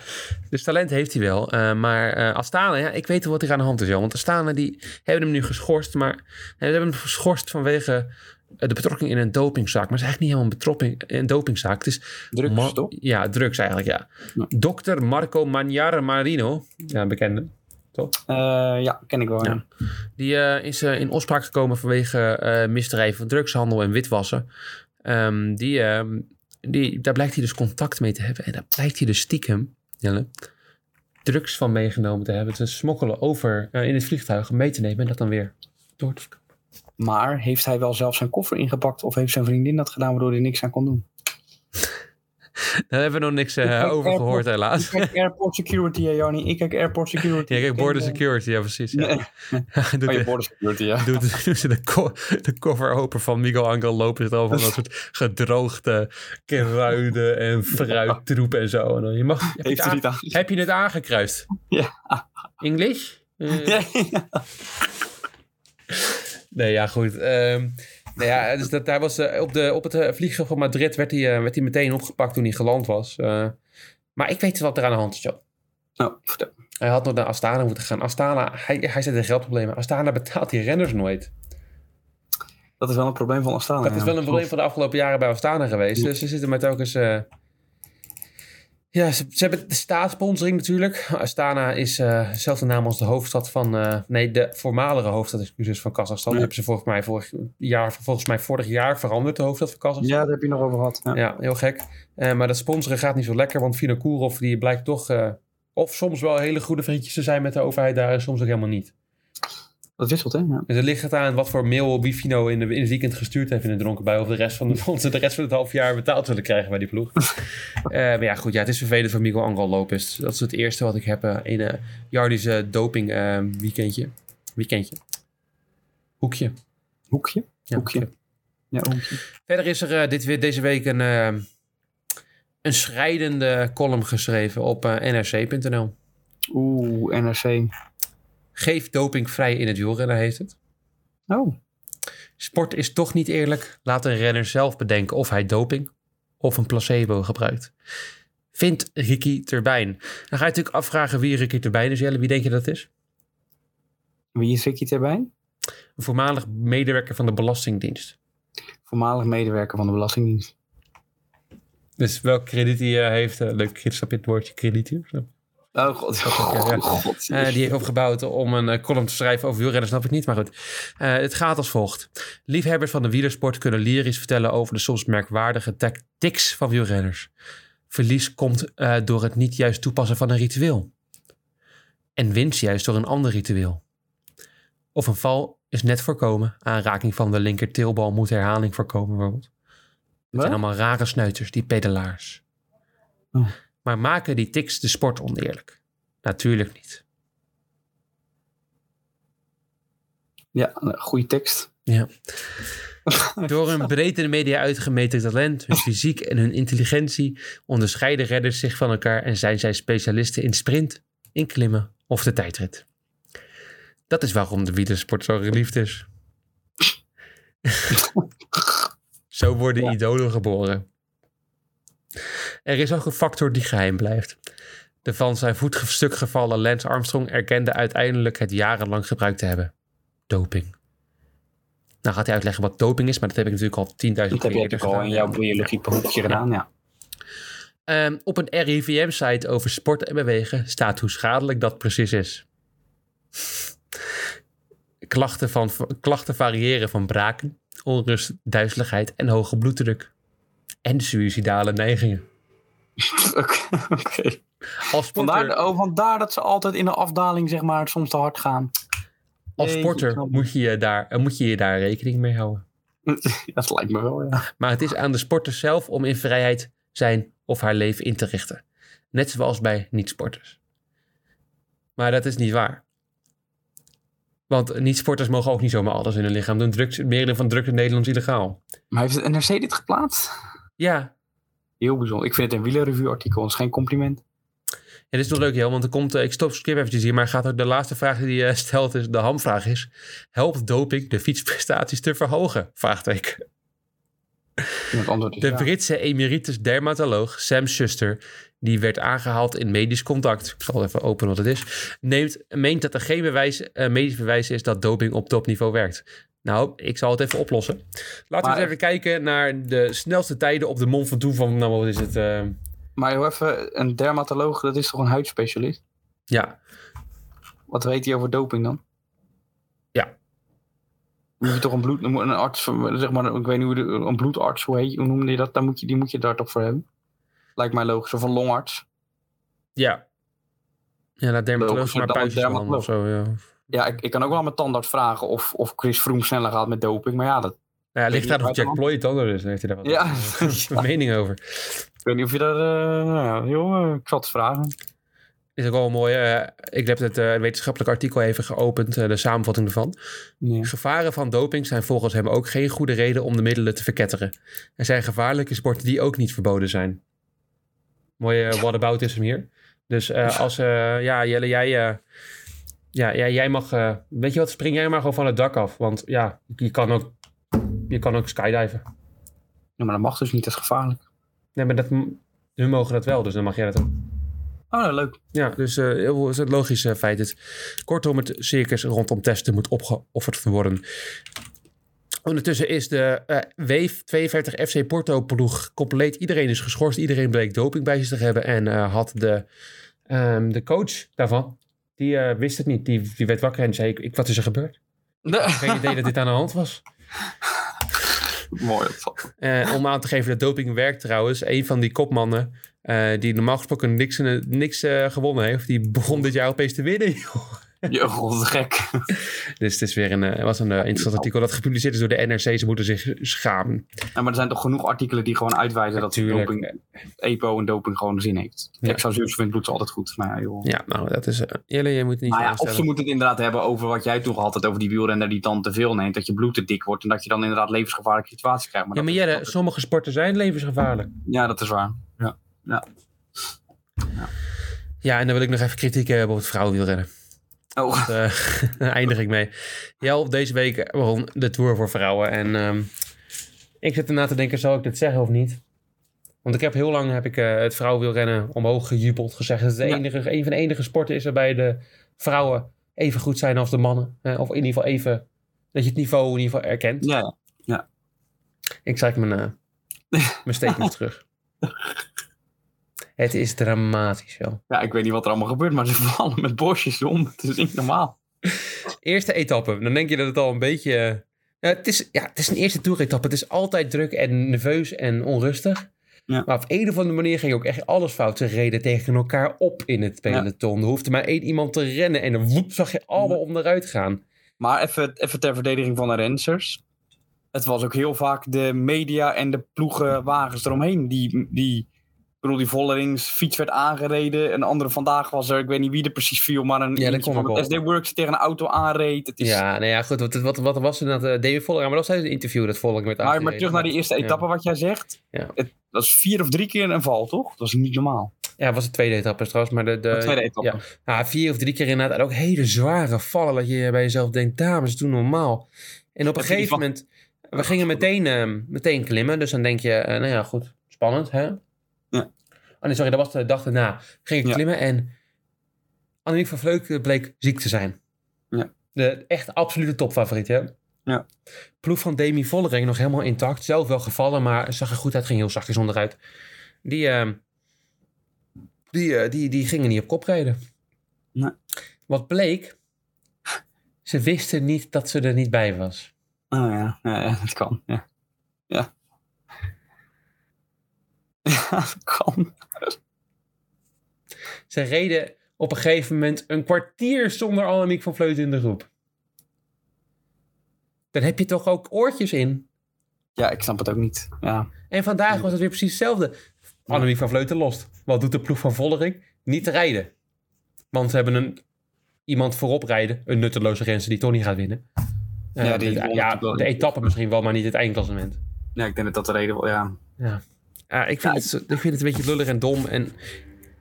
Dus talent heeft hij wel. eh, maar eh, Astana, ja, ik weet wel wat er aan de hand is. Joh, want Astana, die hebben hem nu geschorst. Maar eh, ze hebben hem geschorst vanwege eh, de betrokking in een dopingzaak. Maar het is eigenlijk niet helemaal een, betrokking, een dopingzaak. Het is
Druk
Ma-
toch?
Ja, drugs eigenlijk, ja.
Ja.
Dokter Marco Magnara Marino, ja, een bekende.
Eh, ja, ken ik wel.
Ja. Die eh, is eh, in opspraak gekomen vanwege eh, misdrijven van drugshandel en witwassen. Ehm, die, ehm, die, daar blijkt hij dus contact mee te hebben. En daar blijkt hij dus stiekem, Jelle, drugs van meegenomen te hebben. Te smokkelen over eh, in het vliegtuig, mee te nemen en dat dan weer door te verkopen.
Maar heeft hij wel zelf zijn koffer ingepakt of heeft zijn vriendin dat gedaan waardoor hij niks aan kon doen?
Daar hebben we nog niks eh,
Ik kijk
over
erg
gehoord,
Ik
helaas.
kijk airport security, hè, Jarny. Ik kijk airport security.
Ja, kijk,
Ik
border
ken, eh,
security, ja, precies. Ja.
Nee.
Doet
Oh,
de-
je border security, ja.
doet, doet ze de, co de cover open van Miguel Angel Lopez er al van dat soort gedroogde kruiden en fruittroep en zo. En dan, je mag, heb, je
Heeft
het
hij
aan-
niet aan?
heb je het aangekruist?
Ja.
English? Eh,
Ja.
Nee, ja, goed. Ehm, nou ja, dus dat, daar was, eh, op, de, op het eh, vliegveld van Madrid werd hij, eh, werd hij meteen opgepakt toen hij geland was. Eh, maar ik weet wat er aan de hand is, joh.
Nou, vertel.
Hij had nog naar Astana moeten gaan. Astana, hij, hij zit in geldproblemen. Astana betaalt die renners nooit.
dat is wel een probleem van Astana.
Dat is
Oh, ja.
wel een probleem van de afgelopen jaren bij Astana geweest. Dus ze zitten met telkens... eh Ja, ze, ze hebben de staatssponsoring natuurlijk. Astana is eh, dezelfde naam als de hoofdstad van... eh, nee, de voormalige hoofdstad, excuses, van Kazachstan.
Ja.
Die hebben ze volgens mij vorig jaar, volgens mij vorig jaar veranderd, de hoofdstad van Kazachstan.
Ja, daar heb je nog over gehad. Ja.
Ja, heel gek. Eh, maar dat sponsoren gaat niet zo lekker, want Vino Kourov die blijkt toch... eh, of soms wel hele goede vriendjes te zijn met de overheid daar en soms ook helemaal niet.
Dat wisselt, hè? Ja.
Dus het ligt het aan wat voor mail Bifino in, de, in het weekend gestuurd heeft in de dronken bij. Of de rest van, de, of ze de rest van het half jaar betaald zullen krijgen bij die ploeg. Eh, maar ja, goed. Ja, het is vervelend voor Miguel Angel Lopez. Dat is het eerste wat ik heb eh, in eh Jardy's eh, doping eh, weekendje. Weekendje. Hoekje.
Hoekje.
Ja,
Hoekje. Ja, hoekje.
Verder is er eh, dit weer, deze week een, eh, een schrijdende column geschreven op eh, nrc.nl.
Oeh, NRC.
Geef doping vrij in het wielrennen, heet het.
Oh,
Sport is toch niet eerlijk. Laat een renner zelf bedenken of hij doping of een placebo gebruikt. Vindt Ricky Turbijn. Dan ga je natuurlijk afvragen wie Ricky Turbijn is. Jelle, wie denk je dat het is?
wie is Ricky erbij?
Een voormalig medewerker van de Belastingdienst.
Voormalig medewerker van de Belastingdienst.
Dus welk krediet hij eh, heeft. eh, leuk grits op dit woordje krediet hier.
Oh god.
ja.
god.
Eh, die heeft opgebouwd om een eh, column te schrijven over wielrennen, snap ik niet. Maar goed, Eh, het gaat als volgt. Liefhebbers van de wielersport kunnen lyrisch vertellen over de soms merkwaardige tactics van wielrenners. Verlies komt eh, door het niet juist toepassen van een ritueel. En winst juist door een ander ritueel. Of een val is net voorkomen. Aanraking van de linker teelbal moet herhaling voorkomen bijvoorbeeld. Het
Wat?
zijn allemaal rare snuiters, die pedelaars.
Oh.
Maar maken die tics de sport oneerlijk? Natuurlijk niet.
Ja, nou, goede tekst.
Ja. Door hun breed in de media uitgemeten talent, hun fysiek en hun intelligentie onderscheiden redders zich van elkaar en zijn zij specialisten in sprint, in klimmen of de tijdrit. Dat is waarom de wielersport zo geliefd is. zo worden idolen geboren. Er is ook een factor die geheim blijft. De van zijn voet stuk gevallen Lance Armstrong erkende uiteindelijk het jarenlang gebruikt te hebben. Doping. Nou gaat hij uitleggen wat doping is, maar dat heb ik natuurlijk al 10.000 keer
Dat heb je
eerder
natuurlijk al
gedaan.
in jouw biologieproefje gedaan, ja.
Ehm, op een RIVM-site over sport en bewegen staat hoe schadelijk dat precies is. Klachten, van, klachten variëren van braken, onrust, duizeligheid en hoge bloeddruk. En suïcidale neigingen.
Oké. oké.
Als sporter,
Vandaar, oh, vandaar dat ze altijd in de afdaling zeg maar, soms te hard gaan.
als
Nee, ik
sporter
snap het.
moet, je je daar, eh, moet je je daar rekening mee houden.
Dat lijkt me wel, ja.
Maar het is aan de sporter zelf om in vrijheid zijn of haar leven in te richten. Net zoals bij niet-sporters. Maar dat is niet waar. Want niet-sporters mogen ook niet zomaar alles in hun lichaam doen. Drugs, het merendeel van drugs in Nederland is illegaal.
Maar heeft het NRC dit geplaatst?
Ja,
Heel bijzonder. Ik vind het een wielerreview-artikel, dat is geen compliment.
het is nog leuk, heel, want er komt, eh, ik stop, skip eventjes hier, maar gaat ook de laatste vraag die je stelt, is, de hamvraag is, helpt doping de fietsprestaties te verhogen? Vraagteken.
En het antwoord is
De
dus, ja.
Britse emeritus dermatoloog Sam Schuster, die werd aangehaald in medisch contact, ik zal even openen wat het is, neemt, meent dat er geen bewijs, eh, medisch bewijs is dat doping op topniveau werkt. Nou, ik zal het even oplossen. Laten we
Maar-
eens even kijken naar de snelste tijden op de mond van toe van, nou wat is het, eh,
Maar heel even, een dermatoloog, dat is toch een huidspecialist?
ja,
Wat weet hij over doping dan?
Ja.
Moet je toch een bloed, een arts, van- zeg maar, ik weet niet hoe de- een bloedarts, hoe, heet, hoe noemde je dat? Daar moet je, die moet je daar toch voor hebben? Lijkt mij logisch. Of een longarts.
ja. Ja, laat dermatoloog
Logischer
maar
dan een
puistjes behandelen of zo, ja.
Ja, ik, ik kan ook wel aan mijn tandarts vragen of, of Chris Froome sneller gaat met doping. Maar ja, dat,
Nou ja, ligt daar
niet
of
waar
Jack
dan.
Ploy het ander is, dan heeft hij daar wat
Ja.
een mening over.
ik weet niet of je daar, eh, nou ja, joh, eh, ik zal het vragen.
Is ook wel een mooie. eh, ik heb het eh, wetenschappelijk artikel even geopend, eh, de samenvatting ervan.
Ja.
Gevaren van doping zijn volgens hem ook geen goede reden om de middelen te verketteren. Er zijn gevaarlijke sporten die ook niet verboden zijn. Mooie eh, whataboutism hier. Dus eh, als, eh, ja, Jelle, jij, eh, ja, jij, jij mag, eh, weet je wat, spring jij maar gewoon van het dak af. Want ja, je kan ook, je kan ook skydiven.
Ja, maar dat mag dus niet, dat is gevaarlijk.
Nee, maar dat, m- hun mogen dat wel, dus dan mag jij dat ook.
Oh, nou, leuk.
Ja, dus eh, heel veel- is het logische feit dat kortom het circus rondom testen moet opgeofferd worden. Ondertussen is de eh W52 FC Porto ploeg compleet. Iedereen is geschorst. Iedereen bleek doping bij zich te hebben. En eh, had de, ehm, de coach daarvan, die eh, wist het niet. Die, die werd wakker en zei, ik, ik- wat is er gebeurd? Geen idee dat dit aan de hand was.
Mooi. dat-
Eh, om aan te geven dat doping werkt trouwens. Een van die kopmannen, eh, die normaal gesproken niks, in- niks eh, gewonnen heeft, die begon dit jaar opeens te winnen. joh.
Je god, gek.
Dus het is weer een, eh, was een eh, interessant artikel dat gepubliceerd is door de NRC. Ze moeten zich schamen.
Ja, maar er zijn toch genoeg artikelen die gewoon uitwijzen dat
Tuurlijk.
doping, EPO en doping gewoon zin heeft.
Ja.
Excelsior vindt bloed altijd goed. Maar ja, joh.
Ja, nou, dat is. eh, Jelle, je moet het niet
Maar Nou ja, of
aanstellen.
ze moeten het inderdaad hebben over wat jij toen gehad had over die wielrenner die dan te veel neemt. Dat je bloed te dik wordt en dat je dan inderdaad levensgevaarlijke situaties krijgt. Maar
Ja, maar
dat is-
Jelle, sommige sporten zijn levensgevaarlijk.
ja, dat is waar. Ja.
Ja, en dan wil ik nog even kritiek hebben op het vrouwenwielrennen.
Oh,
Eh, daar eindig ik mee. Jel, deze week waarom de Tour voor vrouwen. En ehm, ik zit erna te denken, zal ik dit zeggen of niet? Want ik heb heel lang heb ik, eh, het vrouwenwielrennen omhoog gejubeld. Gezegd dat het de
Ja.
enige, een van de enige sporten is waarbij de vrouwen even goed zijn als de mannen. Eh, of in ieder geval even, dat je het niveau in ieder geval erkent.
ja.
Ik trek mijn, eh, mijn statement terug. Het is dramatisch wel.
Ja, ik weet niet wat er allemaal gebeurt, maar ze vallen met borstjes om. Het is niet normaal.
Eerste etappe. Dan denk je dat het al een beetje... eh, ja, het, is, ja, het is een eerste toeretappe. Het is altijd druk en nerveus en onrustig.
Ja.
Maar op een of andere manier ging ook echt alles fout. Ze reden tegen elkaar op in het peloton. Er hoefde maar één iemand te rennen. En dan woep zag je allemaal onderuit gaan.
Maar even, even ter verdediging van de renners. Het was ook heel vaak de media en de ploegenwagens eromheen. Die, die, ik bedoel, die Vollerings fiets werd aangereden. Een andere vandaag was er, ik weet niet wie er precies viel, maar een
dat
eentje
kon
van
ook
de
wel.
SD Works tegen een auto aanreed. Het is,
Ja, nou ja, goed. Wat, wat, wat was inderdaad eh, David Vollering? Maar dat was tijdens het interview dat Vollering werd
maar, maar
aangereden.
terug naar die eerste etappe wat jij zegt.
Ja.
Het was vier of drie keer een val, toch? Dat was niet normaal.
Ja, het was de tweede etappe trouwens. Maar de, de,
De tweede etappe.
ja. Ja, Nou, vier of drie keer inderdaad. En ook hele zware vallen dat je bij jezelf denkt, dames, doe normaal. En op een
is
gegeven
iets wat-
moment, we gingen meteen, ehm, meteen klimmen. Dus dan denk je, eh, nou ja, goed, spannend, hè?
Ja.
Oh nee, sorry, dat was de dag daarna. Ging ik
Ja.
klimmen en Annemiek van Vleuten bleek ziek te zijn.
Ja.
De echt absolute topfavoriet, hè?
Ja.
Ploeg van Demi Vollering nog helemaal intact. Zelf wel gevallen, maar zag er goed uit. Ging heel zachtjes onderuit. Die, ehm, die, eh, die, die gingen niet op kop rijden.
Nee.
Wat bleek, ze wisten niet dat ze er niet bij was.
Oh ja, ja, ja, dat kan. Ja. Ja. ja, dat kan.
Ze reden op een gegeven moment een kwartier zonder Annemiek van Vleuten in de groep. Dan heb je toch ook oortjes in.
Ja, ik snap het ook niet. Ja.
En vandaag was het weer precies hetzelfde. Annemiek van Vleuten lost. Wat doet de ploeg van Vollering? Niet rijden. Want ze hebben een, iemand voorop rijden. Een nutteloze renster die toch niet gaat winnen. Eh,
Ja, die
met-
won
ja,
natuurlijk wel.
de etappe misschien wel, maar niet het eindklassement.
ja, ik denk dat dat de reden was. Ja. Ah,
Ja, ik, vind
Ja,
het, zo- ik vind het een beetje lullig en dom. En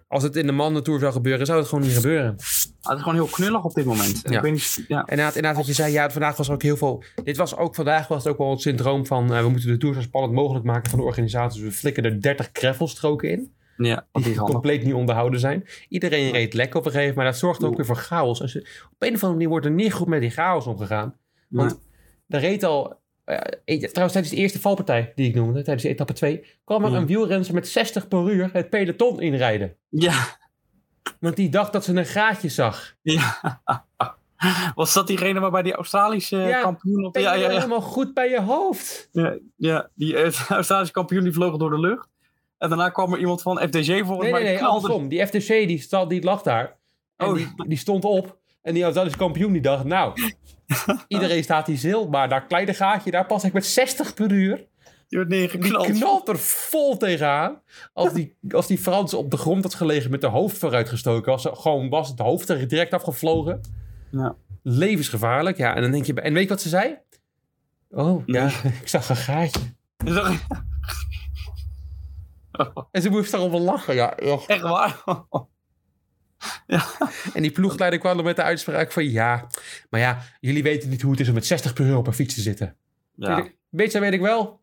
als het in de mannentour zou gebeuren, zou het gewoon niet gebeuren.
Ah, Het is gewoon heel knullig op dit moment.
Ja.
Ik weet niet, ja.
En inderdaad, inderdaad wat je zei, ja, vandaag was er ook heel veel... Dit was ook, vandaag was het ook wel het syndroom van... eh, we moeten de tour zo spannend mogelijk maken van de organisatie. Dus we flikken er 30 greffelstroken in.
ja, dat
Die
is handig.
compleet niet onderhouden zijn. Iedereen reed lek op een gegeven moment. Maar dat zorgt ook weer voor chaos. En ze- op een of andere manier wordt er niet goed met die chaos omgegaan. Want er reed al... eh, eh, trouwens, tijdens de eerste valpartij die ik noemde, tijdens de etappe 2, kwam er
Ja.
een wielrenner met 60 per uur het peloton inrijden.
Ja,
Want die dacht dat ze een gaatje zag.
was dat diegene waarbij die Australische
Ja,
kampioen op...
Denk
Ja,
je
ja, ja,
helemaal goed bij je hoofd.
ja, die eh, Australische kampioen die vloog door de lucht. En daarna kwam er iemand van FDG voor
Nee, nee, nee, andersom. Die FTC die, stal, die lag daar. En
Oh.
die, die stond op. En die Australische kampioen die dacht, nou, iedereen staat hier zil. Maar dat kleine gaatje, daar pas ik met 60 per uur.
Die werd
Die
neergeknald.
knalt er vol tegenaan. Als die, als die Frans op de grond had gelegen met haar hoofd vooruitgestoken, was, ze gewoon, was het hoofd er direct afgevlogen.
Ja.
Levensgevaarlijk, ja. En dan denk je, en weet je wat ze zei? Oh, ja, ik zag een gaatje.
Dus dat-
En ze moest daarom wel lachen, ja.
Echt waar.
En die ploegleider kwam er met de uitspraak van... Ja, maar ja, jullie weten niet hoe het is om met 60 per uur op een fiets te zitten.
Ja.
Weet ik- Weet je, weet ik wel.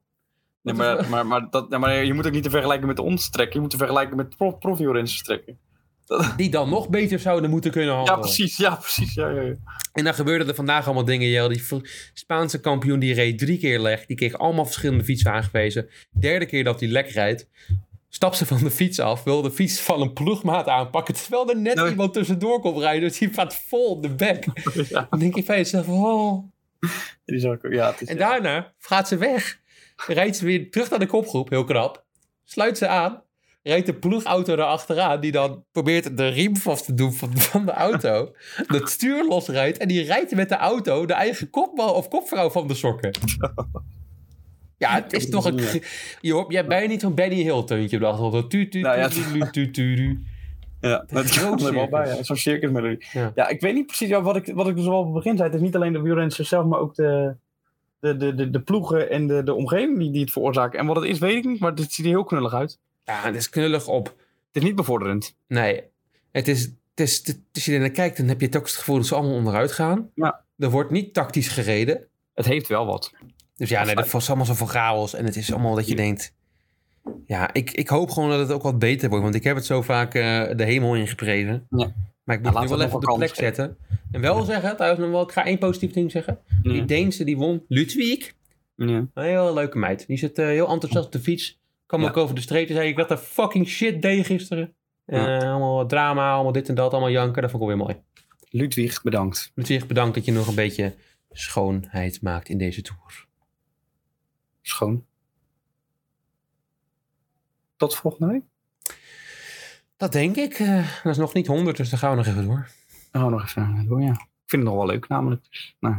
Nee, maar, maar, maar, dat, ja, maar je moet ook niet te vergelijken met ons trekken. Je moet te vergelijken met pro profielrenners trekken.
Die dan nog beter zouden moeten kunnen handelen.
Ja, precies. Ja, precies. Ja, ja, ja.
En dan gebeurden er vandaag allemaal dingen, Jel. Die Fr- Spaanse kampioen die reed drie keer leg. Die kreeg allemaal verschillende fietsen aangewezen. Derde keer dat hij lek rijdt. Stapte van de fiets af, wil de fiets van een ploegmaat aanpakken. Terwijl er net
Nee.
iemand tussendoor komt rijden. Dus die gaat vol op de bek.
Ja,
Dan denk je van jezelf, oh.
die zou ik ook- ja, het is,
En daarna gaat ze weg. Rijdt ze weer terug naar de kopgroep, heel knap. Sluit ze aan. Rijdt de ploegauto erachteraan, die dan probeert de riem vast te doen van, van de auto. Dat stuur losrijdt en die rijdt met de auto de eigen kopman of kopvrouw van de sokken. Ja, het is toch een... ge- Je hoort, jij bent bijna niet zo'n Benny Hill teuntje op de achtergrond. Tu, tu, tu,
Nou ja,
tu, tu, tu, tu, tu.
Ja, dat
is
kan
zo'n
er wel bij.
circus.
ja. Zo'n circus melodie.
Ja.
Ja. ik weet niet precies ja, wat, ik, wat ik dus al op het begin zei. Het is niet alleen de wielrenners zelf, maar ook de, de, de, de, de ploegen en de, de omgeving die, die het veroorzaken. En wat het is, weet ik niet, maar het ziet er heel knullig uit.
Ja, het is knullig op.
Het is niet bevorderend.
Nee, het is, het is, het- als je ernaar kijkt, dan heb je het ook het gevoel dat ze allemaal onderuit gaan.
Ja.
Er wordt niet tactisch gereden.
Het heeft wel wat.
Dus ja, nee, dat was allemaal zoveel chaos. En het is allemaal dat je denkt... Ja, ik, ik hoop gewoon dat het ook wat beter wordt. Want ik heb het zo vaak eh, de hemel ingeprezen.
Ja.
Maar ik moet het
laten
nu
we
wel
nog
even op
een
de
kans
plek zetten. En wel zeggen, trouwens nog wel, ik ga één positief ding zeggen. Die
Ja.
Deense die won, Ludwig.
Ja.
Een heel leuke meid. Die zit eh, heel enthousiast op de fiets. kwam
Ja.
ook over de streep en zei ik dat de fucking shit deed gisteren. En
Ja.
eh, allemaal drama, allemaal dit en dat, allemaal janken. Dat vond ik wel weer mooi.
Ludwig, bedankt.
Ludwig, bedankt dat je nog een beetje schoonheid maakt in deze tour.
Schoon. Tot volgende week.
Dat denk ik. Eh, dat is nog niet 100, dus daar gaan we nog even door.
Oh, nog even door, ja. Ik vind het nog wel leuk, namelijk. Nou,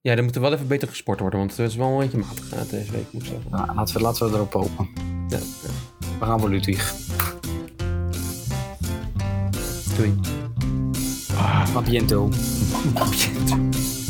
Ja, er moet er wel even beter gesport worden, want het is wel een beetje matig eh, deze week, moet ik zeggen.
Nou, laten, we, laten we erop hopen.
Ja,
We gaan voor Ludwig.
ja. Doei.
Papiento.
Oh, shit.